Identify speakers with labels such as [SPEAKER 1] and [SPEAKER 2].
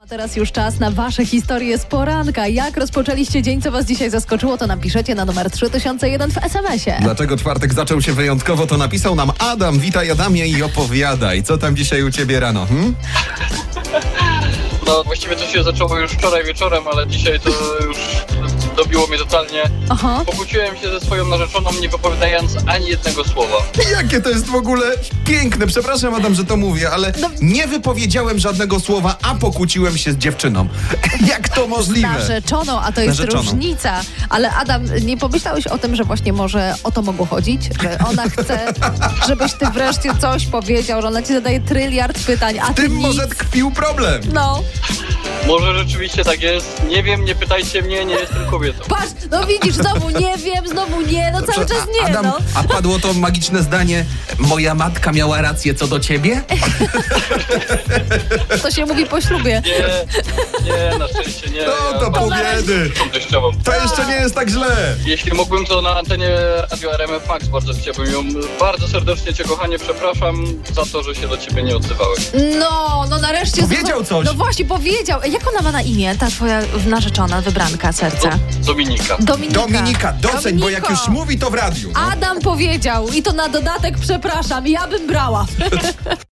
[SPEAKER 1] A teraz już czas na Wasze historie z poranka. Jak rozpoczęliście dzień, co Was dzisiaj zaskoczyło, to napiszecie na numer 3001 w SMS-ie.
[SPEAKER 2] Dlaczego czwartek zaczął się wyjątkowo, to napisał nam Adam. Witaj Adamie i opowiadaj, co tam dzisiaj u ciebie rano? Hmm?
[SPEAKER 3] No właściwie to się zaczęło już wczoraj wieczorem, ale dzisiaj to już dobiło mnie totalnie.
[SPEAKER 1] Oho,
[SPEAKER 3] Pokłóciłem się ze swoją narzeczoną, nie wypowiadając ani jednego słowa.
[SPEAKER 2] Jakie to jest w ogóle piękne. Przepraszam Adam, że to mówię, ale
[SPEAKER 1] No-
[SPEAKER 2] nie wypowiedziałem żadnego słowa, a pokłóciłem się z dziewczyną. Jak to możliwe?
[SPEAKER 1] narzeczoną, a to jest
[SPEAKER 2] Narzeczoną.
[SPEAKER 1] różnica. Ale Adam, nie pomyślałeś o tym, że właśnie może o to mogło chodzić? Że ona chce, żebyś Ty wreszcie coś powiedział, że ona Ci zadaje tryliard pytań, a
[SPEAKER 2] W
[SPEAKER 1] Ty
[SPEAKER 2] tym
[SPEAKER 1] nic.
[SPEAKER 2] może tkwił problem.
[SPEAKER 1] No,
[SPEAKER 3] Może rzeczywiście tak jest. Nie wiem, nie pytajcie mnie, nie jestem kobietą.
[SPEAKER 1] patrz, no widzisz, znowu nie wiem, znowu nie, no cały czas
[SPEAKER 2] Znaczy, A-
[SPEAKER 1] nie,
[SPEAKER 2] Adam,
[SPEAKER 1] no.
[SPEAKER 2] a padło to magiczne zdanie, moja matka miała rację co do ciebie?
[SPEAKER 1] To się mówi po ślubie.
[SPEAKER 3] Nie, nie, na szczęście nie.
[SPEAKER 2] No to
[SPEAKER 3] Ja
[SPEAKER 1] po- zaraz-
[SPEAKER 2] pobiedy.
[SPEAKER 3] mam teściową.
[SPEAKER 2] To jeszcze nie jest tak źle.
[SPEAKER 3] Jeśli mógłbym, to na antenie Radio RMF Max bardzo chciałbym ją. Bardzo serdecznie Cię, kochanie, przepraszam za to, że się do Ciebie nie odzywałem.
[SPEAKER 1] No, no nareszcie.
[SPEAKER 2] Powiedział
[SPEAKER 1] słuchaj-
[SPEAKER 2] coś.
[SPEAKER 1] No właśnie, powiedział. Ej, Jak ona ma na imię, ta twoja narzeczona, wybranka
[SPEAKER 3] Do,
[SPEAKER 1] serca?
[SPEAKER 3] Dominika.
[SPEAKER 1] Dominika.
[SPEAKER 2] Dominika, doceń, bo jak
[SPEAKER 1] Dominiko.
[SPEAKER 2] już mówi, to w radiu. no.
[SPEAKER 1] Adam powiedział i to na dodatek przepraszam, ja bym brała.